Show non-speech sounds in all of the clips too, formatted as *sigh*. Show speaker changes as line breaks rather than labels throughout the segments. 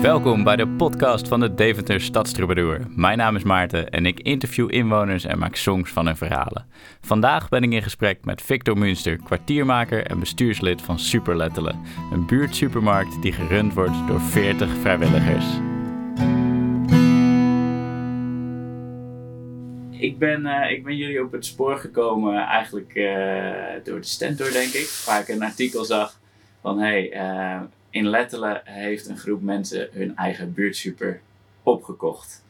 Welkom bij de podcast van de Deventer Stadstroubadour. Mijn naam is Maarten en ik interview inwoners en maak songs van hun verhalen. Vandaag ben ik in gesprek met Victor Munster, kwartiermaker en bestuurslid van Superlettelen, een buurtsupermarkt die gerund wordt door 40 vrijwilligers. Ik ben, eh, ik ben jullie op het spoor gekomen eigenlijk eh, door de Stentor, denk ik, waar ik een artikel zag van hey, eh, in Lettelen heeft een groep mensen hun eigen buurtsuper opgekocht.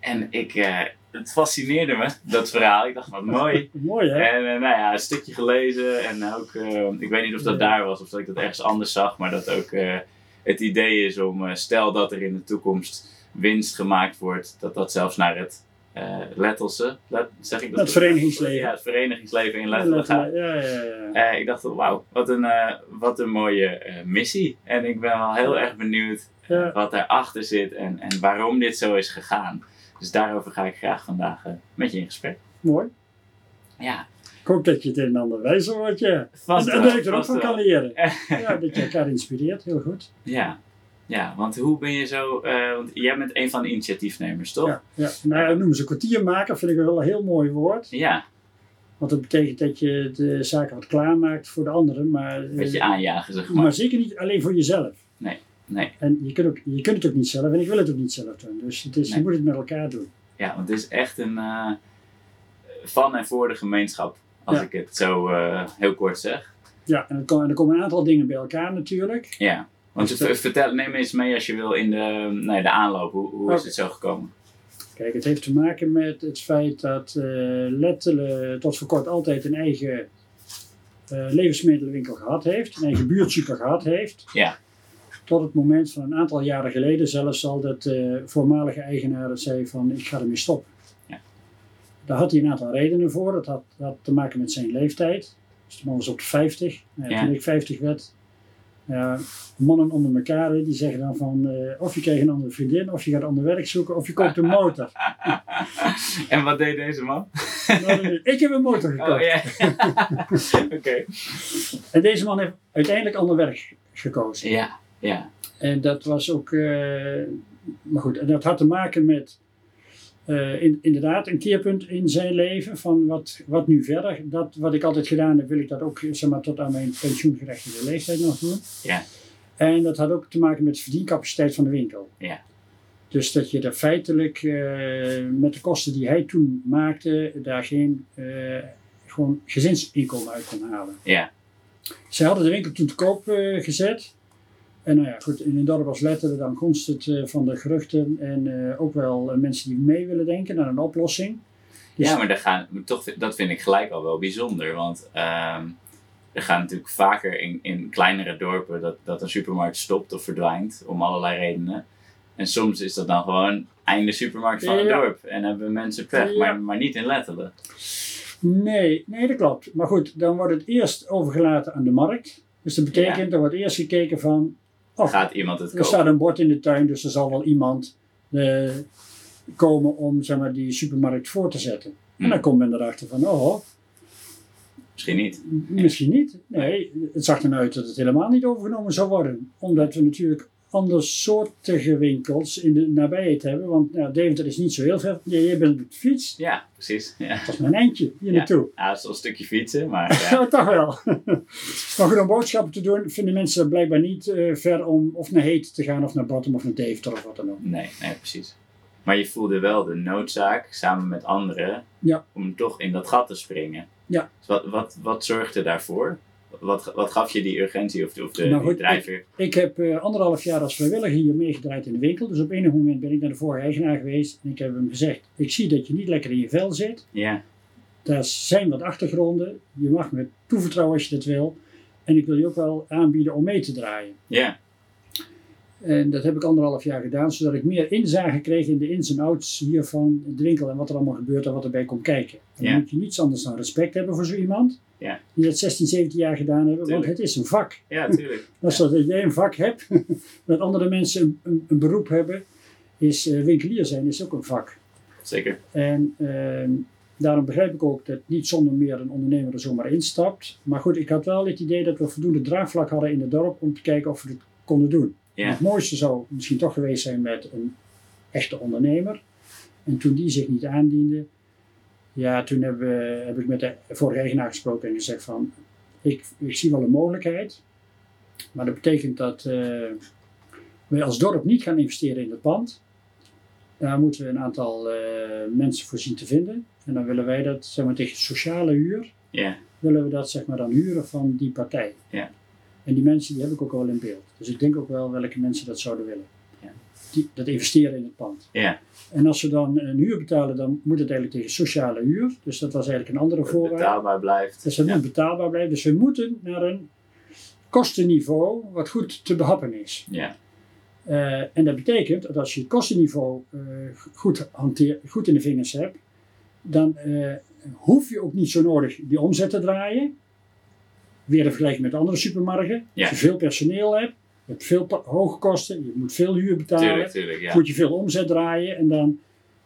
En ik, eh, het fascineerde me, dat verhaal. Ik dacht, wat mooi.
Mooi hè?
En eh, nou ja, een stukje gelezen. En ook, eh, ik weet niet of dat daar was of dat ik dat ergens anders zag. Maar dat ook eh, het idee is om, eh, stel dat er in de toekomst winst gemaakt wordt, dat dat zelfs naar het eh Lettelse, Let- zeg ik dat?
Het verenigingsleven.
Ja, het verenigingsleven in
Ja,
Lettelen gaat.
ja, ja, ja.
Eh, ik dacht, wauw, wat een, eh, wat een mooie eh, missie. En ik ben wel heel erg benieuwd
Ja.
wat daarachter zit en, en waarom dit zo is gegaan. Dus daarover ga ik graag vandaag eh, met je in gesprek.
Mooi.
Ja,
Ik hoop dat je het een en ander wijzer wordt, ja.
vast
en en
wel,
dat ik er ook
vast
van
wel.
kan
*laughs*
leren. Ja, dat je elkaar inspireert, heel goed.
ja. ja, want hoe ben je zo... eh, want jij bent een van de initiatiefnemers, toch?
Ja, ja. Nou, ja, noemen ze kwartiermaker, vind ik wel een heel mooi woord.
Ja,
Want dat betekent dat je de zaken wat klaarmaakt voor de anderen, maar,
een beetje
eh,
aanjagen, zeg maar.
maar zeker niet alleen voor jezelf.
Nee,
En je kunt, ook, je kunt het ook niet zelf en ik wil het ook niet zelf doen. Dus het is,
Nee.
je moet het met elkaar doen.
ja, want het is echt een eh, van en voor de gemeenschap. Als
Ja.
ik het zo eh, heel kort zeg.
Ja, en, er kom- en er komen een aantal dingen bij elkaar natuurlijk.
Ja. Want
Dus
ver-
dat-
vertel, neem eens mee als je wil in de, nee, de aanloop. Hoe, hoe is
Oké.
het zo gekomen?
Kijk, het heeft te maken met het feit dat eh Lettelen tot voor kort altijd een eigen eh, levensmiddelenwinkel gehad heeft, een eigen buurtsuper gehad heeft.
Ja.
Tot het moment van een aantal jaren geleden zelfs al dat de voormalige eigenaar het zei van ik ga ermee stoppen.
Ja.
Daar had hij een aantal redenen voor. Dat had, had te maken met zijn leeftijd. Dus de man was op de 50. Nou ja,
Ja.
Toen ik 50 werd, ja, mannen onder elkaar hè, die zeggen dan van eh, of je krijgt een andere vriendin, of je gaat ander werk zoeken, of je koopt
*laughs*
een motor.
en wat deed deze man?
Nou, nee, ik heb een motor gekocht.
Oh ja.
*laughs*
*laughs* Oké.
En deze man heeft uiteindelijk ander werk gekozen.
Ja, ja,
En dat was ook, eh, maar goed, en dat had te maken met eh, in- inderdaad een keerpunt in zijn leven van wat, wat nu verder. Dat wat ik altijd gedaan heb, wil ik dat ook zeg maar, tot aan mijn pensioengerechtigde leeftijd nog doen.
Ja.
En dat had ook te maken met de verdiencapaciteit van de winkel.
Ja.
Dus dat je daar feitelijk eh, met de kosten die hij toen maakte, daar geen eh, gewoon gezinsinkomen uit kon halen.
ja.
Zij hadden de winkel toen te koop eh, gezet. En nou ja, goed, in een dorp als Letteren dan konst het eh, van de geruchten en eh, ook wel eh, mensen die mee willen denken naar een oplossing. Dus-
Ja, maar daar gaan, maar toch, vind- dat vind ik gelijk al wel bijzonder. Want ehm, er gaan natuurlijk vaker in, in kleinere dorpen dat, dat een supermarkt stopt of verdwijnt. Om allerlei redenen. En soms is dat dan gewoon einde supermarkt van het
Ja.
dorp. En hebben mensen pech,
Ja.
maar, maar niet in Lettelen.
Nee, nee, dat klopt. Maar goed, dan wordt het eerst overgelaten aan de markt. Dus dat betekent,
Ja.
er wordt eerst gekeken van, oh,
Gaat iemand het
er
kopen?
staat een bord in de tuin, dus er zal wel iemand eh, komen om zeg maar, die supermarkt voor te zetten.
Hm.
En dan komt men erachter van, oh,
Misschien niet.
M- Misschien niet. Nee, het zag eruit dat het helemaal niet overgenomen zou worden. Omdat we natuurlijk andersoortige winkels in de nabijheid hebben. Want nou, Deventer is niet zo heel ver. Ja, jij bent op de fiets.
Ja, precies. Ja.
Dat is maar een eindje hier naartoe.
Ja, het is wel een stukje fietsen,
*laughs*
maar ja.
Ja, toch wel. maar goed, om boodschappen te doen vinden mensen dat blijkbaar niet eh, ver om of naar Heet te gaan of naar Bottom of naar Deventer of wat dan ook.
Nee, nee, precies. Maar je voelde wel de noodzaak, samen met anderen,
Ja.
om toch in dat gat te springen.
Ja.
Dus wat, wat, wat zorgde daarvoor? Wat, wat gaf je die urgentie of, de- of de
Nou,
die
goed,
drijfveer?
Ik heb eh, anderhalf jaar als vrijwilliger hier meegedraaid in de winkel. Dus op enig moment ben ik naar de vorige eigenaar geweest. En ik heb hem gezegd, ik zie dat je niet lekker in je vel zit.
Ja,
Daar zijn wat achtergronden. Je mag me toevertrouwen als je dat wil. En ik wil je ook wel aanbieden om mee te draaien.
ja,
En dat heb ik anderhalf jaar gedaan, zodat ik meer inzage kreeg in de ins en outs hiervan, de winkel en wat er allemaal gebeurt en wat erbij komt kijken. Dan
Ja.
moet je niets anders dan respect hebben voor zo iemand
Ja.
die dat 16, 17 jaar gedaan hebben, want
Tuurlijk.
het is een vak.
ja, tuurlijk.
Als dat jij een vak hebt, *laughs* dat andere mensen een, een, een beroep hebben, is eh, winkelier zijn is ook een vak.
Zeker.
En ehm, Daarom begrijp ik ook dat niet zonder meer een ondernemer er zomaar instapt. Maar goed, ik had wel het idee dat we voldoende draagvlak hadden in het dorp om te kijken of we het konden doen.
Ja.
Het mooiste zou misschien toch geweest zijn met een echte ondernemer. En toen die zich niet aandiende, ja, toen hebben we- heb ik met de vorige eigenaar gesproken en gezegd van, ik, ik zie wel een mogelijkheid. Maar dat betekent dat eh, we als dorp niet gaan investeren in het pand. Daar moeten we een aantal eh, mensen voor zien te vinden. En dan willen wij dat, zeg maar, tegen sociale huur,
Ja.
willen we dat zeg maar dan huren van die partij.
Ja.
En die mensen die heb ik ook wel in beeld. Dus ik denk ook wel welke mensen dat zouden willen.
Ja.
Die, dat investeren in het pand.
Ja.
En als ze dan een huur betalen, dan moet het eigenlijk tegen sociale huur. Dus dat was eigenlijk een andere
Dat het
voorwaarde.
betaalbaar blijft.
Dus dat
ja.
moet betaalbaar blijven. Dus we moeten naar een kostenniveau wat goed te behappen is.
Ja.
Eh, en dat betekent dat als je het kostenniveau eh, goed, hanteer, goed in de vingers hebt, dan eh, hoef je ook niet zo nodig die omzet te draaien. Weer een vergelijking met andere supermarkten.
Ja.
Als je veel personeel hebt, je hebt veel pa- hoge kosten, je moet veel huur betalen,
tuurlijk, tuurlijk. Ja.
moet je veel omzet draaien en dan,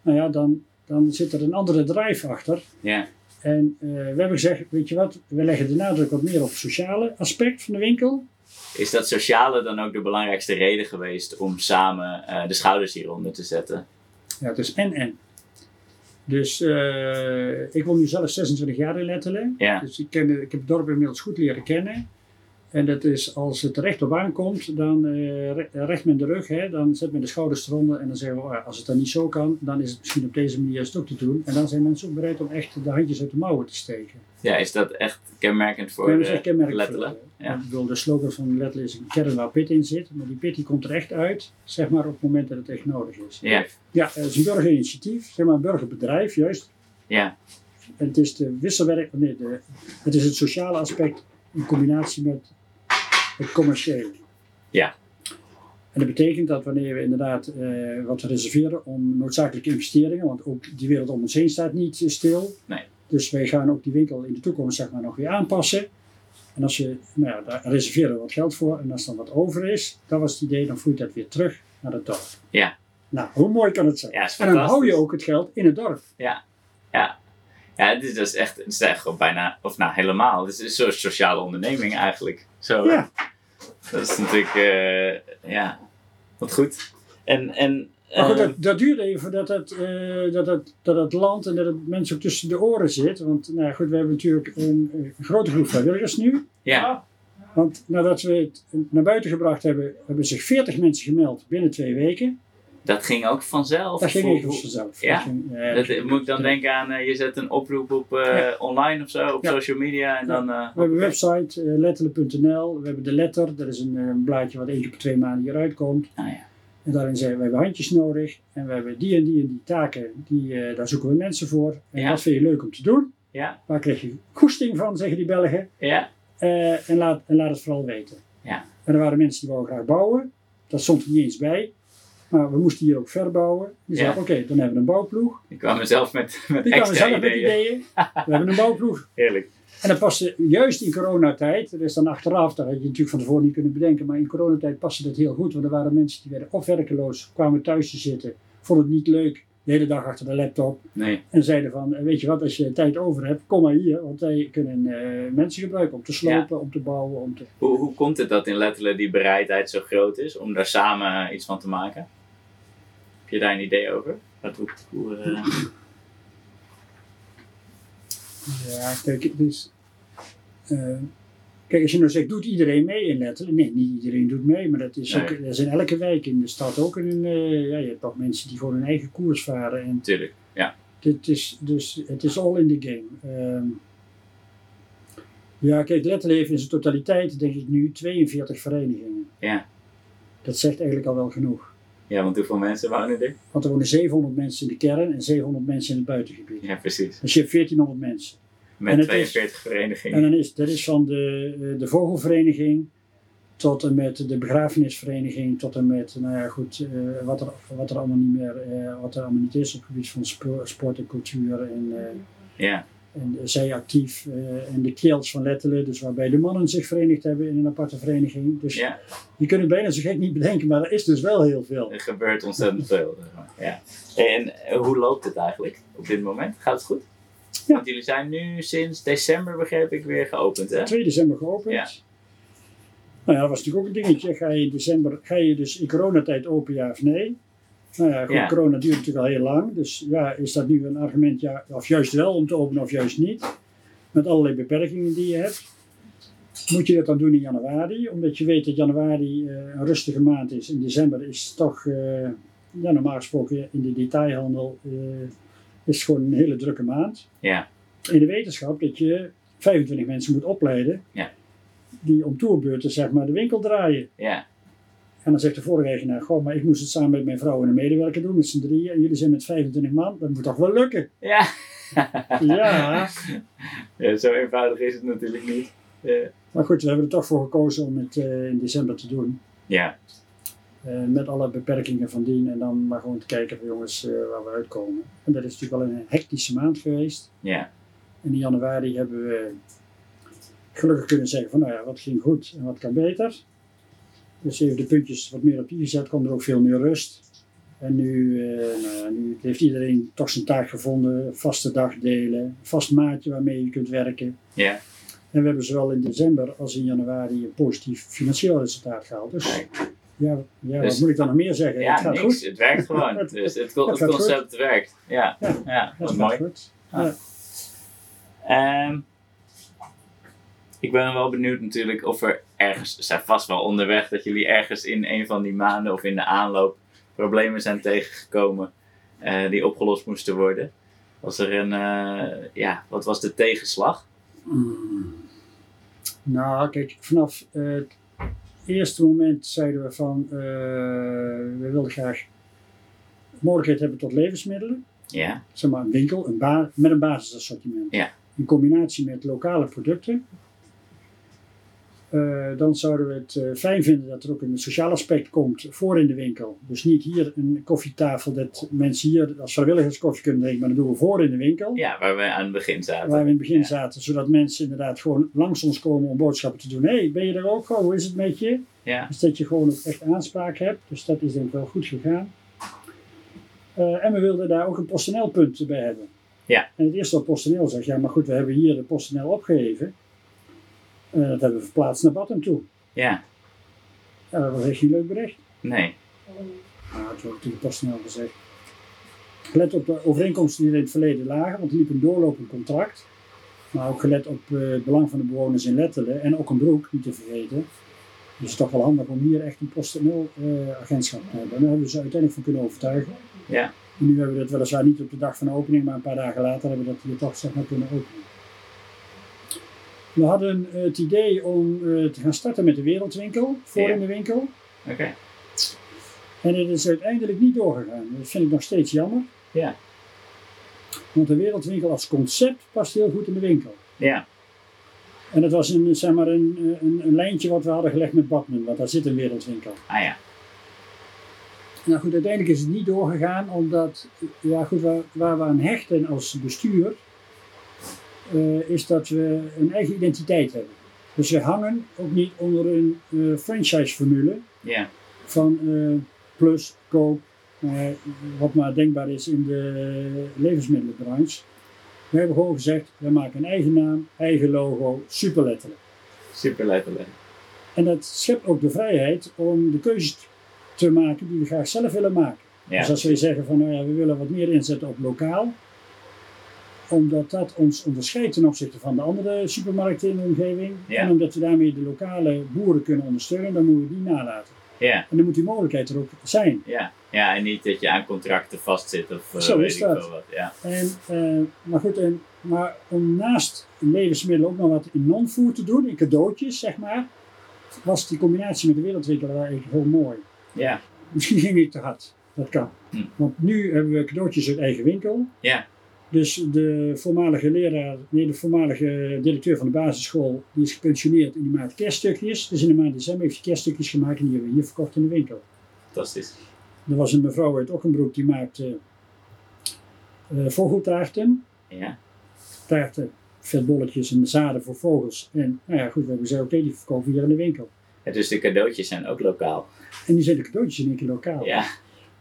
nou ja, dan, dan zit er een andere drijf achter.
Ja.
En eh, we hebben gezegd, weet je wat, we leggen de nadruk wat meer op het sociale aspect van de winkel.
Is dat sociale dan ook de belangrijkste reden geweest om samen eh, de schouders hieronder te zetten?
Ja, het is en-en. Dus eh, ik woon nu zelf 26 jaar in Letterlijk.
Ja.
Dus ik, ken, ik heb het dorp inmiddels goed leren kennen. En dat is, als het er recht op aankomt, dan eh, re- recht men de rug. Hè, dan zet men de schouders eronder en dan zeggen we, "Oh ja, als het dan niet zo kan, dan is het misschien op deze manier is het ook te doen. En dan zijn mensen ook bereid om echt de handjes uit de mouwen te steken.
Ja, is dat echt kenmerkend voor eh,
Ja, dat is echt
de
kenmerkend voor
Lettelen?
de-
ja.
Ik bedoel, de slogan van Letterlijk is een kern waar pit in zit. Maar die pit die komt er echt uit, zeg maar op het moment dat het echt nodig is.
Ja.
Ja, eh, het is een burgerinitiatief, zeg maar een burgerbedrijf juist.
Ja.
En het is de wisselwerk, nee, de, het is het sociale aspect in combinatie met het commerciële.
Ja.
En dat betekent dat wanneer we inderdaad eh, wat we reserveren om noodzakelijke investeringen, want ook die wereld om ons heen staat niet eh, stil.
Nee.
Dus wij gaan ook die winkel in de toekomst zeg maar, nog weer aanpassen. En als je, nou ja, daar reserveren we wat geld voor en als dan wat over is, dat was het idee, dan vloeit dat weer terug naar het dorp.
Ja.
Nou, hoe mooi kan het zijn?
Ja, is
En dan hou
fantastisch.
je ook het geld in het dorp.
Ja, dit is, dat is echt, het is echt gewoon bijna, of nou helemaal, het is een soort sociale onderneming eigenlijk. Zo, hè?
Ja.
Dat is natuurlijk, eh, ja, wat goed. En, en
Maar goed,
ehm,
dat, dat duurde even voordat het, eh, dat, het, dat het land en dat het mensen ook tussen de oren zit. Want nou ja, goed, we hebben natuurlijk een, een grote groep vrijwilligers nu.
ja,
Want nadat we het naar buiten gebracht hebben, hebben zich 40 mensen gemeld binnen twee weken.
dat ging ook vanzelf.
Dat ging
Hoe-
even
hoe-
vanzelf.
Ja?
Dat ging, eh,
dat, moet ik dan denken aan, eh, je zet een oproep op eh, online of zo, op
Ja.
social media en
Ja.
dan... eh,
We hebben een website, eh, letterlijk.nl. We hebben de letter, dat is een, eh, een blaadje wat één keer per twee maanden hieruit komt.
Ah, ja.
En daarin zeggen we, we hebben handjes nodig. En we hebben die en die en die taken, die, eh, daar zoeken we mensen voor. En
Ja.
dat vind je leuk om te doen.
Ja.
Waar krijg je goesting van, zeggen die Belgen.
ja,
Eh, en, laat, en laat het vooral weten.
Ja.
En er waren mensen die wouden graag bouwen. Dat stond er niet eens bij. Maar we moesten hier ook verbouwen. Die
Ja.
zeiden, oké, dan hebben we een bouwploeg.
ik kwam mezelf met, met
Die kwamen
extra
zelf
ideeën.
met ideeën. We hebben een bouwploeg.
Heerlijk.
En dat paste juist in coronatijd. Dat is dan achteraf, dat had je natuurlijk van tevoren niet kunnen bedenken. Maar in coronatijd paste dat heel goed. Want er waren mensen die werden of werkeloos, kwamen thuis te zitten. Vonden het niet leuk, de hele dag achter de laptop.
Nee,
En zeiden van, eh, weet je wat, als je tijd over hebt, kom maar hier. Want wij kunnen eh, mensen gebruiken om te slopen, om te bouwen, om te...
hoe, hoe komt het dat in Lettelen die bereidheid zo groot is om daar samen eh, iets van te maken? Heb je daar een idee over? Wat, hoe, hoe, eh, *laughs*
Ja, kijk, het is. eh, kijk, als je nou zegt, doet iedereen mee in Letterlijk? Nee, niet iedereen doet mee, maar dat is,
Nee.
ook, dat is in elke wijk in de stad ook. Een, eh, ja, je hebt toch mensen die gewoon hun eigen koers varen. En
Tuurlijk.
dit is, dus, het is all in the game. Ehm, ja, kijk, Letterlijk heeft in zijn totaliteit, denk ik nu, 42 verenigingen.
Ja.
Dat zegt eigenlijk al wel genoeg.
Ja, want hoeveel mensen wonen er?
Want er wonen 700 mensen in de kern en 700 mensen in het buitengebied.
Ja, precies.
Dus je hebt 1400 mensen.
Met
En het
42
En
verenigingen.
dan is, dat is van de, eh, de vogelvereniging tot en met de begrafenisvereniging, tot en met, nou ja goed, eh, wat, er, wat er allemaal niet meer, eh, wat er allemaal niet is op het gebied van spo- sport en cultuur en, eh,
Ja,
en zij actief eh, en de keels van Lettelen, dus waarbij de mannen zich verenigd hebben in een aparte vereniging. Dus
ja,
je kunt het bijna zo gek niet bedenken, maar er is dus wel heel veel.
er gebeurt ontzettend veel. zeg maar. Ja. En eh, hoe loopt het eigenlijk op dit moment? Gaat het goed?
Ja.
Want jullie zijn nu sinds december, begreep ik, weer geopend, hè?
2 december geopend.
Ja.
Nou ja, dat was natuurlijk ook een dingetje. Ga je in december, ga je dus in coronatijd open, ja of nee? Nou ja, goed,
Ja.
corona duurt natuurlijk al heel lang. Dus ja, is dat nu een argument, ja, of juist wel om te openen of juist niet? Met allerlei beperkingen die je hebt. Moet je dat dan doen in januari? Omdat je weet dat januari eh, een rustige maand is. In december is toch, eh, ja, normaal gesproken in de detailhandel, eh, is het gewoon een hele drukke maand
Ja,
in de wetenschap dat je 25 mensen moet opleiden
Ja.
die om toerbeurten zeg maar de winkel draaien.
ja,
En dan zegt de vorige eigenaar, goh, maar ik moest het samen met mijn vrouw en een medewerker doen, met z'n drieën, en jullie zijn met 25 man, dat moet toch wel
*laughs*
lukken?
ja.
Ja.
*laughs* Ja, Zo eenvoudig is het natuurlijk niet. Eh,
Maar goed, we hebben er toch voor gekozen om het eh, in december te doen,
ja,
Eh, met alle beperkingen van dien, en dan maar gewoon te kijken van jongens eh, waar we uitkomen. En dat is natuurlijk wel een hectische maand geweest.
ja,
En in januari hebben we gelukkig kunnen zeggen van nou ja, wat ging goed en wat kan beter. Dus even de puntjes wat meer op i gezet, kwam er ook veel meer rust. En nu, eh, nou ja, nu heeft iedereen toch zijn taak gevonden, vaste dagdelen, vast maatje waarmee je kunt werken.
ja.
En we hebben zowel in december als in januari een positief financieel resultaat gehaald. Dus
Kijk.
ja, ja
Dus-
wat moet ik dan nog meer zeggen? het
Ja,
gaat
niks.
goed.
Het werkt
*laughs*
gewoon.
Het-
Dus het, co-
het
het
gaat
concept werkt. Ja,
Ja,
ja
Het
wat
gaat
mooi. Ah.
goed.
Ehm, ik ben wel benieuwd natuurlijk of er ergens, er zijn vast wel onderweg, dat jullie ergens in een van die maanden of in de aanloop problemen zijn tegengekomen eh, die opgelost moesten worden. Was er een, eh, ja, wat was de tegenslag?
Mm. Nou, kijk, vanaf eh, het eerste moment zeiden we van, eh, we wilden graag mogelijkheid hebben tot levensmiddelen.
Ja,
Zeg maar een winkel een ba- met een basisassortiment.
Ja.
In combinatie met lokale producten. Eh, dan zouden we het eh, fijn vinden dat er ook een sociaal aspect komt voor in de winkel. Dus niet hier een koffietafel dat mensen hier als vrijwilligers koffie kunnen drinken, maar dat doen we voor in de winkel
ja waar we aan het begin zaten.
waar we in het begin
Ja.
zaten, zodat mensen inderdaad gewoon langs ons komen om boodschappen te doen. Hé, hey, ben je er ook? Goh, hoe is het met je?
Ja,
Dus dat je gewoon ook echt aanspraak hebt. Dus dat is denk ik wel goed gegaan. Eh, en we wilden daar ook een personeelpunt bij hebben.
Ja.
En het eerste wat personeel zegt, ja maar goed, we hebben hier de personeel opgeheven. Eh, dat hebben we verplaatst naar Batten toe.
ja,
En dat was echt geen leuk bericht.
nee.
Nou, het wordt natuurlijk pas snel gezegd. Gelet op de overeenkomsten die er in het verleden lagen, want er liep een doorlopend contract. Maar ook gelet op eh, het belang van de bewoners in Lettelen en ook een broek, niet te vergeten. Dus het is toch wel handig om hier echt een personeelagentschap te hebben. En daar hebben we ze uiteindelijk van kunnen overtuigen.
Ja.
En nu hebben we dat weliswaar niet op de dag van de opening, maar een paar dagen later hebben we dat hier toch zeg maar kunnen openen. We hadden eh, het idee om eh, te gaan starten met de wereldwinkel, voor
Ja.
in de winkel.
Oké,
En het is uiteindelijk niet doorgegaan. Dat vind ik nog steeds jammer.
Ja.
Want de wereldwinkel als concept past heel goed in de winkel.
ja,
En dat was een, zeg maar een, een, een lijntje wat we hadden gelegd met Batman, want daar zit een wereldwinkel.
ah ja,
Nou goed, uiteindelijk is het niet doorgegaan, omdat ja goed, waar, waar we aan hechten als bestuur, eh, is dat we een eigen identiteit hebben. Dus we hangen ook niet onder een eh, franchise-formule,
ja,
van eh, plus, koop, eh, wat maar denkbaar is in de levensmiddelenbranche. We hebben gewoon gezegd, we maken een eigen naam, eigen logo, superletterlijk.
super letterlijk.
En dat schept ook de vrijheid om de keuzes te maken die we graag zelf willen maken. Dus
Ja,
als wij zeggen van, nou ja, we willen wat meer inzetten op lokaal, omdat dat ons onderscheidt ten opzichte van de andere supermarkten in de omgeving.
Ja.
En omdat we daarmee de lokale boeren kunnen ondersteunen, dan moeten we die nalaten.
ja,
En dan moet die mogelijkheid er ook zijn.
ja, ja, en niet dat je aan contracten vastzit of eh,
Zo
weet
is
ik
dat.
veel wat. Ja,
En, eh, maar goed, en, maar om naast levensmiddelen ook nog wat in non-food te doen, in cadeautjes zeg maar, was die combinatie met de wereldwinkel wel eigenlijk heel mooi.
ja,
Misschien ging ik te hard, dat kan.
Hm.
Want nu hebben we cadeautjes uit eigen winkel.
Ja.
Dus de voormalige leraar, nee, de voormalige directeur van de basisschool, die is gepensioneerd en die maakt kerststukjes. Dus in de maand december heeft hij kerststukjes gemaakt en die hebben we hier verkocht in de winkel.
fantastisch.
Er was een mevrouw uit Ockenbroek die maakte eh vogeltaarten
Ja,
taarten, vetbolletjes en zaden voor vogels. En nou ja, goed, we hebben gezegd, oké, die verkopen we hier in de winkel.
Ja, dus de cadeautjes zijn ook lokaal.
En nu zijn de cadeautjes in één keer lokaal.
Ja.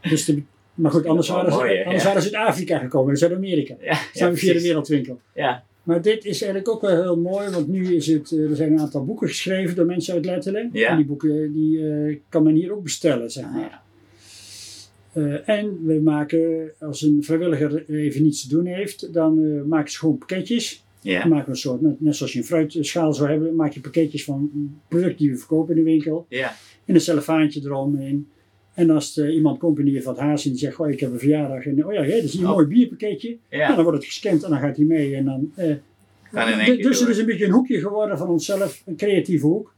Dus de, Maar goed, anders,
Dat is wel
waren ze,
mooi, hè?
anders
Ja.
waren ze uit Afrika gekomen, dus uit Amerika.
Ja,
zijn we via de
precies.
wereldwinkel.
Ja,
Maar dit is eigenlijk ook wel heel mooi, want nu is het, eh, er zijn een aantal boeken geschreven door mensen uit Letterland.
Ja. Ah,
En die boeken die, eh, kan men hier ook bestellen, zeg maar.
ja.
Eh, en we maken, als een vrijwilliger even niets te doen heeft, dan eh, maken ze gewoon pakketjes. Dan
ja.
maken we een soort, net, net zoals je een fruitschaal zou hebben, maak je pakketjes van producten die we verkopen in de winkel.
ja.
En een cellofaantje eromheen. En als er iemand komt en die heeft wat haast en die zegt, goh, ik heb een verjaardag. En oh ja, hé, dat is hier een
Oh.
mooi bierpakketje.
ja.
Nou, dan wordt het gescand en dan gaat hij mee. En dan, eh,
Gaan in één
d-
keer
dus
door.
het is een beetje een hoekje geworden van onszelf, een creatieve hoek,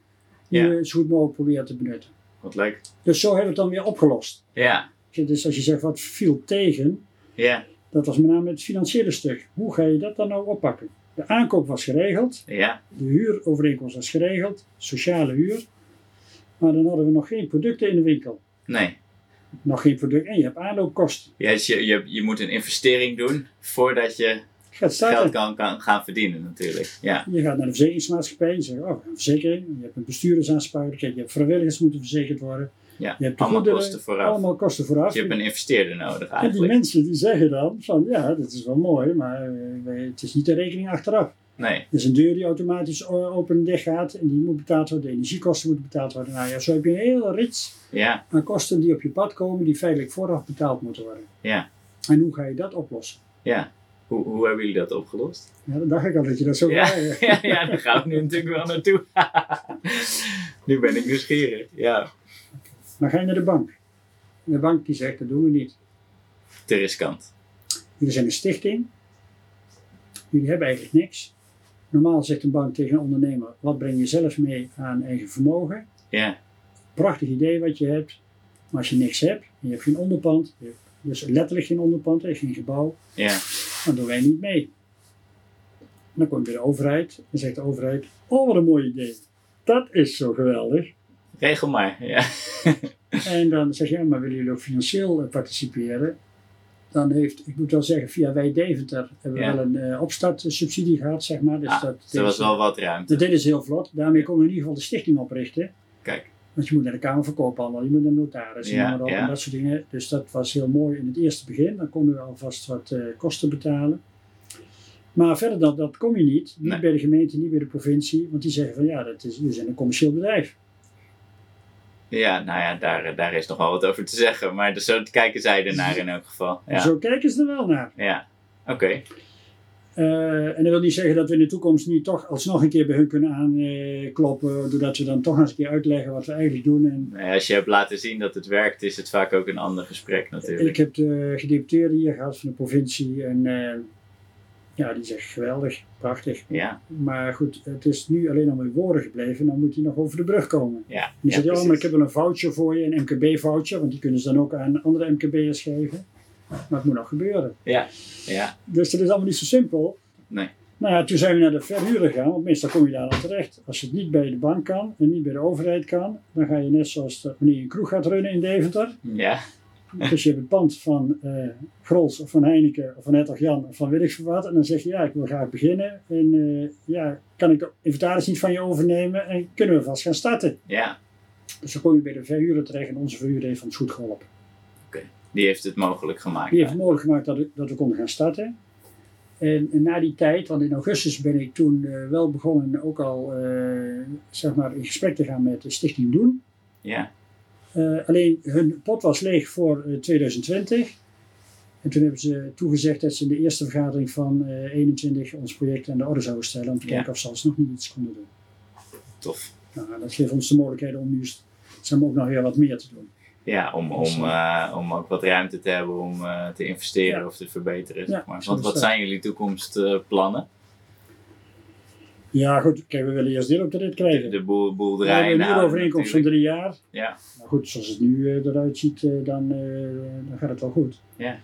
die
Ja.
we zo goed mogelijk proberen te benutten.
Wat leuk.
Dus zo hebben we het dan weer opgelost.
Ja,
Dus als je zegt, wat viel tegen,
ja,
dat was met name het financiële stuk. Hoe ga je dat dan nou oppakken? De aankoop was geregeld,
ja,
de huurovereenkomst was geregeld, sociale huur. Maar dan hadden we nog geen producten in de winkel.
nee.
Nog geen product en je hebt aanloopkosten.
Ja, dus je, je, je moet een investering doen voordat je
Gaat
geld
starten.
kan, kan gaan verdienen natuurlijk. Ja,
Je gaat naar de verzekeringsmaatschappij, je zegt, oh, we gaan verzekering. Je hebt een bestuurdersaansprakelijkheid, je hebt vrijwilligers moeten verzekerd worden.
ja.
Je hebt de
allemaal
goederen,
kosten vooraf.
Allemaal kosten vooraf.
Dus je hebt een investeerder nodig
en die
eigenlijk.
mensen die zeggen dan van, ja, dat is wel mooi, maar eh, wij- het is niet de rekening achteraf.
Nee,
Er is een deur die automatisch o- open en dicht gaat en die moet betaald worden, de energiekosten moeten betaald worden. Nou ja, zo heb je een hele rits
ja,
aan kosten die op je pad komen die feitelijk vooraf betaald moeten worden.
ja,
En hoe ga je dat oplossen?
ja. Hoe, hoe hebben jullie dat opgelost?
Ja, dat dacht ik al dat je dat zo
Ja, *laughs*
vraagt.
ja, ja daar gaan we nu natuurlijk wel naartoe. *laughs* nu ben ik nieuwsgierig. Ja,
Maar ga je naar de bank. En de bank die zegt, dat doen we niet.
te riskant.
Jullie zijn een stichting. Jullie hebben eigenlijk niks. Normaal zegt een bank tegen een ondernemer, wat breng je zelf mee aan eigen vermogen?
Ja,
prachtig idee wat je hebt, maar als je niks hebt, en je hebt geen onderpand, je hebt dus letterlijk geen onderpand, en geen gebouw,
ja,
dan doen wij niet mee. En dan komt weer de overheid en zegt de overheid, oh wat een mooi idee, dat is zo geweldig.
regel maar. Ja,
En dan zeg je, ja, maar willen jullie ook financieel eh, participeren? Dan heeft, ik moet wel zeggen, via Wij Deventer hebben we
Ja.
wel een eh, opstartsubsidie gehad, zeg maar. Dus
Ah,
dat,
er was
is,
wel wat ruimte.
dat is heel vlot. Daarmee kon we in ieder geval de stichting oprichten.
Kijk,
Want je moet naar de Kamer van Koophandel, je moet naar de notaris,
Ja,
en, noem maar op,
ja.
en dat soort dingen. Dus dat was heel mooi in het eerste begin. Dan konden we alvast wat eh, kosten betalen. Maar verder dan dat kom je niet. Niet
Nee.
bij de gemeente, niet bij de provincie. Want die zeggen van ja, dat is, we zijn een commercieel bedrijf.
ja, nou ja, daar, daar is nog wel wat over te zeggen. Maar dus zo kijken zij ernaar in elk geval.
En
Ja,
Zo kijken ze er wel naar.
ja. oké.
Eh, en dat wil niet zeggen dat we in de toekomst niet toch alsnog een keer bij hun kunnen aankloppen. Doordat we dan toch eens een keer uitleggen wat we eigenlijk doen. En
Nou ja, als je hebt laten zien dat het werkt, is het vaak ook een ander gesprek natuurlijk.
Ik heb de gedeputeerde hier gehad van de provincie. En eh, ja, die zegt geweldig, prachtig.
Ja,
Maar goed, het is nu alleen al met woorden gebleven. Dan moet hij nog over de brug komen.
ja.
En dan
ja,
zegt hij, oh,
precies.
maar ik heb wel een voucher voor je, een MKB-voucher. Want die kunnen ze dan ook aan andere MKB'ers geven. Maar het moet nog gebeuren.
Ja, ja,
Dus dat is allemaal niet zo simpel.
Nee.
Nou ja, toen zijn we naar de verhuurder gegaan. Want meestal kom je daar al terecht. Als het niet bij de bank kan en niet bij de overheid kan. Dan ga je net zoals de, wanneer je een kroeg gaat runnen in Deventer.
ja,
Dus je hebt het pand van eh Grols of van Heineken of van Hertog Jan of van weet ik veel wat. En dan zeg je, ja, ik wil graag beginnen. En eh, ja, kan ik de inventaris niet van je overnemen en kunnen we vast gaan starten.
ja.
Dus dan kom je bij de verhuurder terecht en onze verhuurder heeft ons goed geholpen.
Die heeft het mogelijk gemaakt.
Die heeft het mogelijk gemaakt dat, we- dat we konden gaan starten. En, en na die tijd, want in augustus ben ik toen eh, wel begonnen ook al eh, zeg maar in gesprek te gaan met de Stichting Doen.
Ja,
Eh, alleen hun pot was leeg voor eh, 2020. En toen hebben ze toegezegd dat ze in de eerste vergadering van eh 21 ons project aan de orde zouden stellen. Om te
Ja.
kijken of ze alsnog niet iets konden doen.
tof.
Nou, dat geeft ons de mogelijkheid om nu s- zeg maar, ook nog weer wat meer te doen.
Ja, om,
Dus,
om, eh, om ook wat ruimte te hebben om eh, te investeren
Ja.
of te verbeteren.
Ja,
zeg maar.
zo
Want
is
wat
dat.
zijn jullie toekomstplannen?
Ja, goed. Kijk, we willen eerst dit op de rit
de,
krijgen.
de boel, boel
we hebben
draaien.
een huurovereenkomst van
natuurlijk.
drie jaar.
Ja,
Maar goed, zoals het nu eh, eruit ziet, eh, dan, eh, dan gaat het wel goed.
Ja.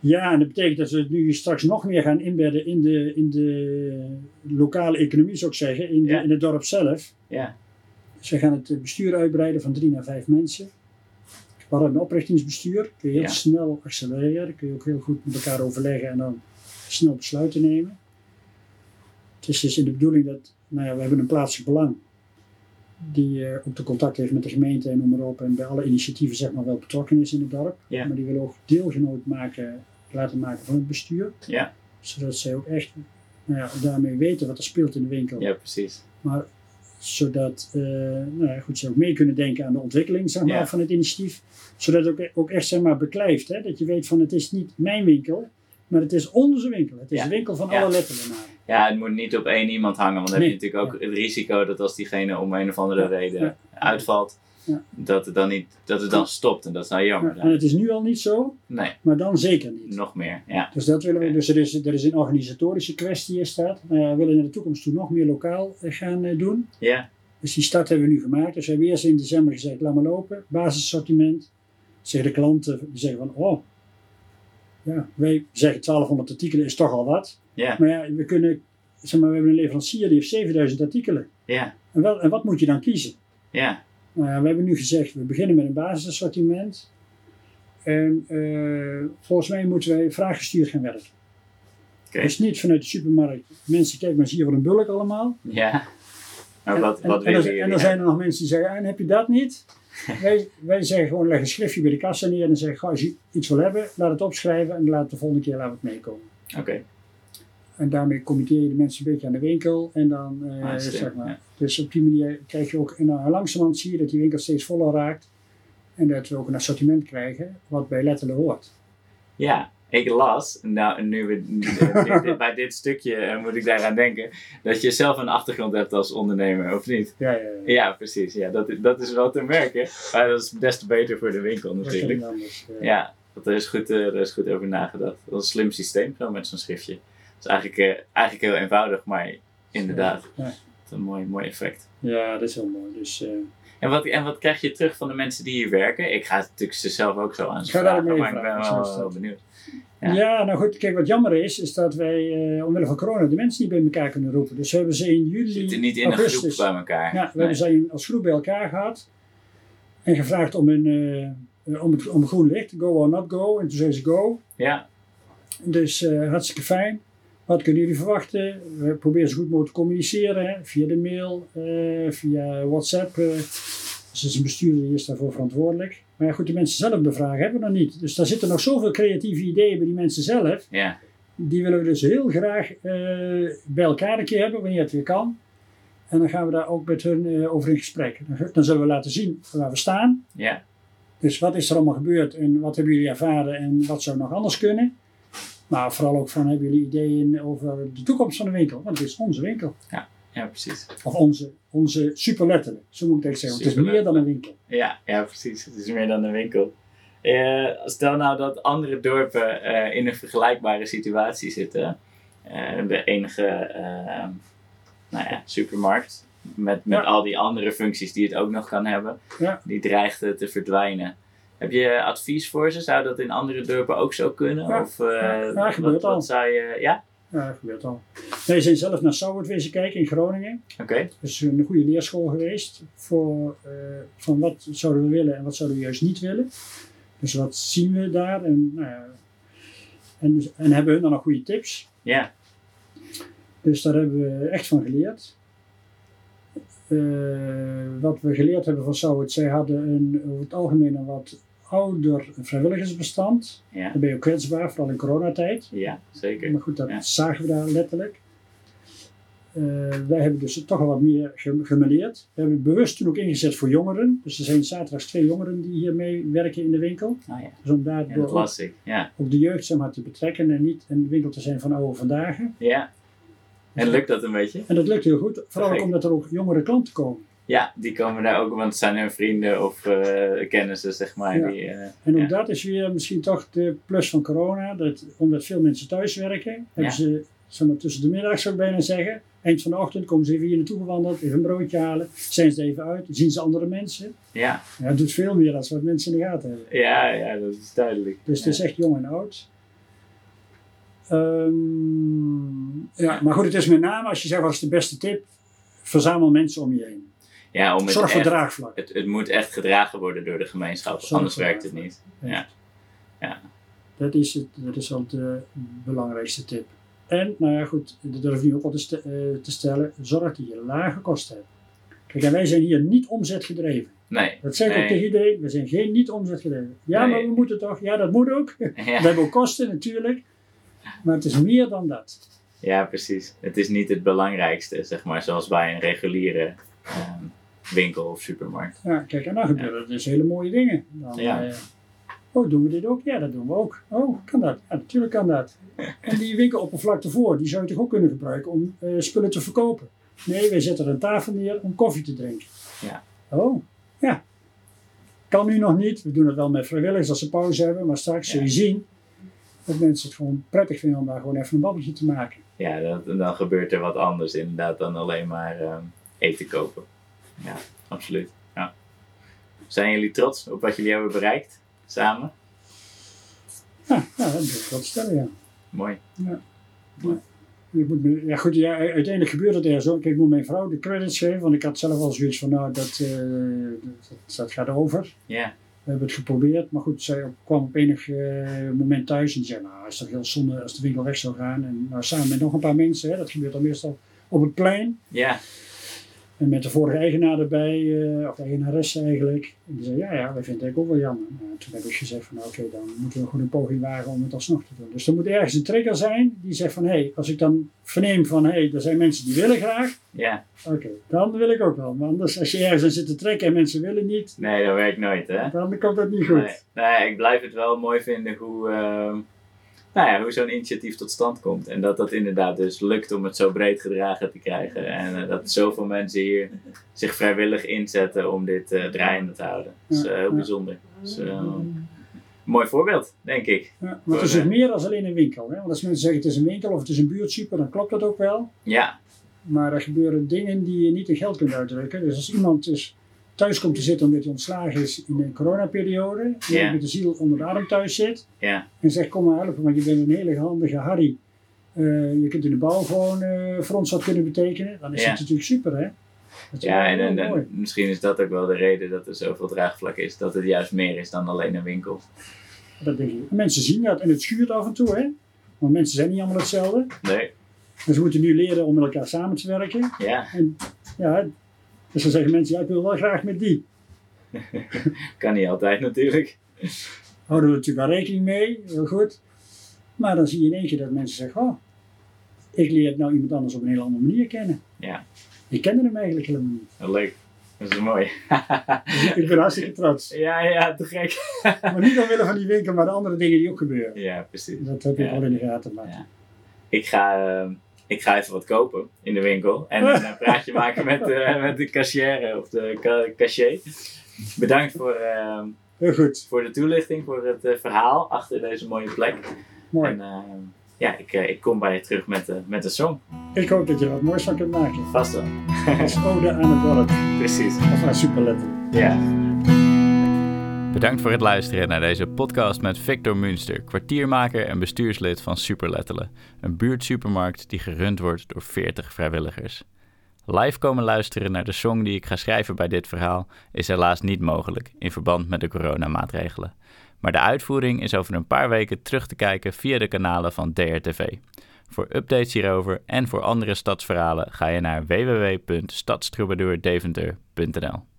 Ja, en dat betekent dat we het nu straks nog meer gaan inbedden in de, in de lokale economie, zou ik zeggen, in, de-
Ja.
in het dorp zelf.
ja,
Ze gaan het eh, bestuur uitbreiden van drie naar vijf mensen. We hadden een oprichtingsbestuur, kun je heel
Ja.
snel accelereren, kun je ook heel goed met elkaar overleggen en dan snel besluiten nemen. Het is dus in de bedoeling dat, nou ja, we hebben een plaatselijk belang. die eh, ook de contact heeft met de gemeente en noem maar op. En bij alle initiatieven zeg maar wel betrokken is in het dorp.
Ja.
Maar die wil ook deelgenoot maken, laten maken van het bestuur.
Ja.
Zodat zij ook echt nou ja, daarmee weten wat er speelt in de winkel.
Ja, precies.
Maar zodat eh, nou ja, goed, ze ook mee kunnen denken aan de ontwikkeling zeg maar,
Ja.
van het initiatief. Zodat het ook, ook echt zeg maar, beklijft. Hè? Dat je weet van het is niet mijn winkel, maar het is onze winkel. Het is
Ja.
de winkel van
Ja.
alle letterlijnaren.
Ja, het moet niet op één iemand hangen, want dan
Nee.
heb je natuurlijk ook het risico dat als diegene om een of andere
Ja,
reden
ja.
uitvalt,
Ja.
dat het dan niet, dat het dan stopt. En dat is nou jammer.
Ja, en het is nu al niet zo,
Nee,
maar dan zeker niet.
nog meer. Ja,
Dus dat willen we. Dus er is, er is een organisatorische kwestie in staat. Nou ja, we willen naar de toekomst toe nog meer lokaal eh, gaan eh, doen.
ja,
Dus die start hebben we nu gemaakt. Dus we hebben eerst in december gezegd, laat maar lopen. Basissortiment. Zeggen de klanten, die zeggen van, oh, ja, wij zeggen 1200 artikelen is toch al wat.
ja,
Maar ja, we kunnen, zeg maar, we hebben een leverancier die heeft 7000 artikelen.
ja,
En, wel, en wat moet je dan kiezen?
ja,
Nou ja, we hebben nu gezegd, we beginnen met een basisassortiment. En eh, volgens mij moeten wij vraaggestuurd gaan werken.
Oké.
Dus niet vanuit de supermarkt. Mensen, kijk maar, zie je wat een bulk allemaal.
ja. Maar
En-
wat,
en,
wat
en,
willen
er-
jullie?
en dan
hè?
zijn er nog mensen die zeggen, "Ah, en heb je dat
*laughs*
niet? wij, wij zeggen gewoon, leg een schriftje bij de kassa neer en zeg, goh, als je iets wil hebben, laat het opschrijven en laat de volgende keer laat het meekomen.
Oké,
En daarmee committeer je de mensen een beetje aan de winkel. En dan, eh,
Ah, slim,
zeg maar.
ja.
Dus op die manier krijg je ook, en dan langzamerhand zie je dat die winkel steeds voller raakt. En dat we ook een assortiment krijgen wat bij Letterlijk hoort.
Ja, ik las, nou, nu we,
*laughs*
nu- dit- bij dit stukje eh, moet ik daaraan denken, dat je zelf een achtergrond hebt als ondernemer, of niet?
Ja, ja, ja.
Ja, precies. Ja, dat, is- dat is wel te merken. Maar dat is des te beter voor de winkel
Dat kan
natuurlijk.
niet anders. eh.
Ja, dat is goed, eh, daar is goed over nagedacht. Dat is een slim systeem zo met zo'n schriftje. Dat is eigenlijk, eh, eigenlijk heel eenvoudig, maar inderdaad,
Ja.
het een mooi, mooi effect.
Ja, dat is heel mooi. Dus, eh,
En wat, en wat krijg je terug van de mensen die hier werken? Ik ga het natuurlijk ze zelf ook zo aan ze
Ga daar
vragen,
mee
maar ik ben
vragen,
wel,
zo is
wel
dat.
benieuwd. Ja.
ja. nou goed, kijk, wat jammer is, is dat wij eh omwille van corona de mensen niet bij elkaar kunnen roepen. Dus we hebben ze in juli,
We zitten niet in een
augustus,
groep bij elkaar.
Ja, we
Nee.
hebben zijn als groep bij elkaar gehad en gevraagd om, een, eh, eh, om, het, om groen licht, go or not go. En toen zei ze go.
Ja,
Dus eh, hartstikke fijn. Wat kunnen jullie verwachten? We proberen zo goed mogelijk te communiceren hè, via de mail, eh, via WhatsApp. eh. dus er is een bestuurder die is daarvoor verantwoordelijk. Maar ja, goed, de mensen zelf bevragen hebben we nog niet. Dus daar zitten nog zoveel creatieve ideeën bij die mensen zelf.
ja,
Die willen we dus heel graag eh, bij elkaar een keer hebben, wanneer het weer kan. En dan gaan we daar ook met hun eh, over in gesprek. Dan, dan zullen we laten zien waar we staan.
ja,
Dus wat is er allemaal gebeurd en wat hebben jullie ervaren en wat zou nog anders kunnen? Maar vooral ook van hebben jullie ideeën over de toekomst van de winkel? Want het is onze winkel.
ja, precies.
Of onze, onze superletterlijk, zo moet ik het zeggen. want Het is meer dan een winkel.
Ja, ja, precies. Het is meer dan een winkel. Eh, stel nou dat andere dorpen eh, in een vergelijkbare situatie zitten. Eh, de enige eh, nou ja, supermarkt met, met
Ja.
al die andere functies die het ook nog kan hebben,
Ja.
die dreigt eh, te verdwijnen. Heb je advies voor ze? Zou dat in andere dorpen ook zo kunnen?
Ja.
Of eh,
Ja, ja,
wat,
gebeurt al.
wat zou je. Ja?
Ja, dat gebeurt al. Wij zijn zelf naar Sauwert wezen kijken in Groningen.
Oké.
Dat is een goede leerschool geweest voor eh, van wat zouden we willen en wat zouden we juist niet willen. Dus wat zien we daar en, nou ja, en, en hebben hun dan nog goede tips?
Ja,
Dus daar hebben we echt van geleerd. Eh, wat we geleerd hebben van Sauwert, zij hadden een, over het algemeen een wat ouder vrijwilligersbestand.
ja,
Dan ben je ook kwetsbaar, vooral in coronatijd.
ja, zeker.
Maar goed, dat
Ja.
zagen we daar letterlijk. Eh, wij hebben dus toch al wat meer gem- gemêleerd. We hebben bewust toen ook ingezet voor jongeren. Dus er zijn zaterdags twee jongeren die hiermee werken in de winkel.
Oh, ja.
Dus om
Ja,
daardoor
dat
ook,
las ik. Ja.
ook de jeugd zeg maar, te betrekken en niet een winkel te zijn van oude vandaag.
ja. Dus En lukt dat een beetje?
En dat lukt heel goed, vooral ook
Perfect.
omdat er ook jongere klanten komen.
Ja, die komen daar ook, want het zijn hun vrienden of eh, kennissen, zeg maar.
Ja.
Die, eh,
En ook
Ja.
dat is weer misschien toch de plus van corona. Dat, omdat veel mensen thuis werken, hebben
Ja.
ze zeg maar, tussen de middag, zou ik bijna zeggen. Eind van de ochtend komen ze even hier naartoe gewandeld, even een broodje halen. Zijn ze er even uit, zien ze andere mensen.
ja.
Ja, het doet veel meer dan wat mensen in de gaten hebben.
Ja, ja, dat is duidelijk.
Dus het is echt jong en oud. Ehm, ja, maar goed, het is met name als je zegt, wat is de beste tip? Verzamel mensen om je heen.
ja, om het,
Zorg voor
echt,
draagvlak.
het, het moet echt gedragen worden door de gemeenschap,
Zorg
anders
voor
werkt het
draagvlak.
niet. Ja.
Ja.
Ja.
Dat is, het, dat is wel de belangrijkste tip. En, nou ja, goed, dat durf ik nu ook al te, ste- eh, te stellen. Zorg dat je lage kosten hebt. Kijk, en wij zijn hier niet omzetgedreven.
Nee.
Dat zeg ik
Nee.
ook tegen iedereen, we zijn geen niet omzetgedreven. Ja,
Nee.
maar we moeten toch, ja dat moet
*laughs*
ook. We
Ja.
hebben ook kosten natuurlijk, maar het is meer dan dat.
ja, precies. Het is niet het belangrijkste, zeg maar, zoals bij een reguliere ehm, winkel of supermarkt.
Ja, kijk, en dan gebeuren er dus hele mooie dingen. Dan,
Ja.
eh, oh, doen we dit ook? Ja, dat doen we ook. Oh, kan dat? Ja, natuurlijk kan dat. En die winkeloppervlakte voor, die zou je toch ook kunnen gebruiken om eh, spullen te verkopen? Nee, wij zetten er een tafel neer om koffie te drinken.
Ja.
Oh, ja. Kan nu nog niet. We doen het wel met vrijwilligers als ze pauze hebben, maar straks
Ja.
zul je zien dat mensen het gewoon prettig vinden om daar gewoon even een babbeltje te maken.
Ja, dat, dan gebeurt er wat anders inderdaad dan alleen maar ehm, eten kopen. Ja, absoluut. Ja. Zijn jullie trots op wat jullie hebben bereikt samen?
Ja, ja dat is wel te stellen, ja.
Mooi.
Ik moet me- ja goed, ja, u- uiteindelijk gebeurt het er zo. Kijk, ik moet mijn vrouw de credits geven, want ik had zelf al zoiets van, nou, dat, eh, dat, dat gaat over.
Ja,
We hebben het geprobeerd, maar goed, zij kwam op enig eh, moment thuis en zei, nou, het is toch heel zonde als de winkel weg zou gaan. En nou, samen met nog een paar mensen, hè, dat gebeurt dan meestal op het plein.
ja,
En met de vorige eigenaar erbij, eh, of de eigenaresse eigenlijk. En die zei, ja, ja, wij vinden het eigenlijk ook wel jammer. Nou, toen heb ik gezegd van, nou, oké, dan moeten we gewoon een poging wagen om het alsnog te doen. Dus er moet ergens een trigger zijn die zegt van, hé, hey, als ik dan verneem van, hé, hey, er zijn mensen die willen graag.
ja.
Oké, dan wil ik ook wel. Maar anders, als je ergens aan zit te trekken en mensen willen niet,
Nee, dat werkt nooit, hè?
dan komt dat niet goed.
Nee, nee, ik blijf het wel mooi vinden hoe, ehm, nou ja, hoe zo'n initiatief tot stand komt. En dat dat inderdaad dus lukt om het zo breed gedragen te krijgen. En eh, dat zoveel mensen hier zich vrijwillig inzetten om dit eh, draaiende te houden. Dat is eh, heel
Ja.
bijzonder. Dat is, eh, een mooi voorbeeld, denk ik.
Ja, maar het is ook meer dan alleen een winkel. Hè? Want als mensen zeggen het is een winkel of het is een buurtsuper, dan klopt dat ook wel.
Ja,
Maar er gebeuren dingen die je niet in geld kunt uitdrukken. Dus als iemand dus thuis komt te zitten omdat hij ontslagen is in de coronaperiode, en
Ja.
met de ziel onder de arm thuis zit,
ja,
en zegt kom maar helpen, want je bent een hele handige Harry. Eh, je kunt in de bouw gewoon eh, voor ons wat kunnen betekenen. Dan is
Ja.
het natuurlijk super, hè? Dat is
ja. En,
wel
en- en
mooi.
misschien is dat ook wel de reden dat er zoveel draagvlak is. Dat het juist meer is dan alleen een winkel.
Dat denk ik. En mensen zien dat en het schuurt af en toe, hè? Want mensen zijn niet allemaal hetzelfde.
Nee,
Dus we moeten nu leren om met elkaar samen te werken.
ja.
En ja, dus dan zeggen mensen, ja, ik wil wel graag met die.
Kan niet altijd natuurlijk.
Houden we natuurlijk wel rekening mee, heel goed. Maar dan zie je in één keer dat mensen zeggen, oh, ik leer nou iemand anders op een hele andere manier kennen.
Ja.
Ik kende hem eigenlijk helemaal niet.
Leuk. Dat is mooi.
Ik ben hartstikke trots.
Ja, *laughs* ja, te gek.
Maar niet omwille van die winkel, maar de andere dingen die ook gebeuren.
Ja, precies.
Dat heb ik
Ja.
al in de gaten. Maar
Ja. Ik ga, ehm, ik ga even wat kopen in de winkel. En dan een praatje maken met, eh, met de cashier of de ca- cashier. Bedankt voor, ehm,
heel goed,
voor de toelichting, voor het eh, verhaal achter deze mooie plek.
mooi.
En ehm, ja, ik, eh, ik kom bij je terug met, eh, met een song.
Ik hoop dat je er wat moois van kunt maken.
Vast dan.
Als ode aan het dorp.
*laughs* Precies.
Of aan superletter.
Ja. Bedankt voor het luisteren naar deze podcast met Victor Munster, kwartiermaker en bestuurslid van Superlettelen, een buurtsupermarkt die gerund wordt door 40 vrijwilligers. Live komen luisteren naar de song die ik ga schrijven bij dit verhaal is helaas niet mogelijk in verband met de coronamaatregelen. Maar de uitvoering is over een paar weken terug te kijken via de kanalen van DRTV. Voor updates hierover en voor andere stadsverhalen ga je naar www.stadstroubadourdeventer.nl.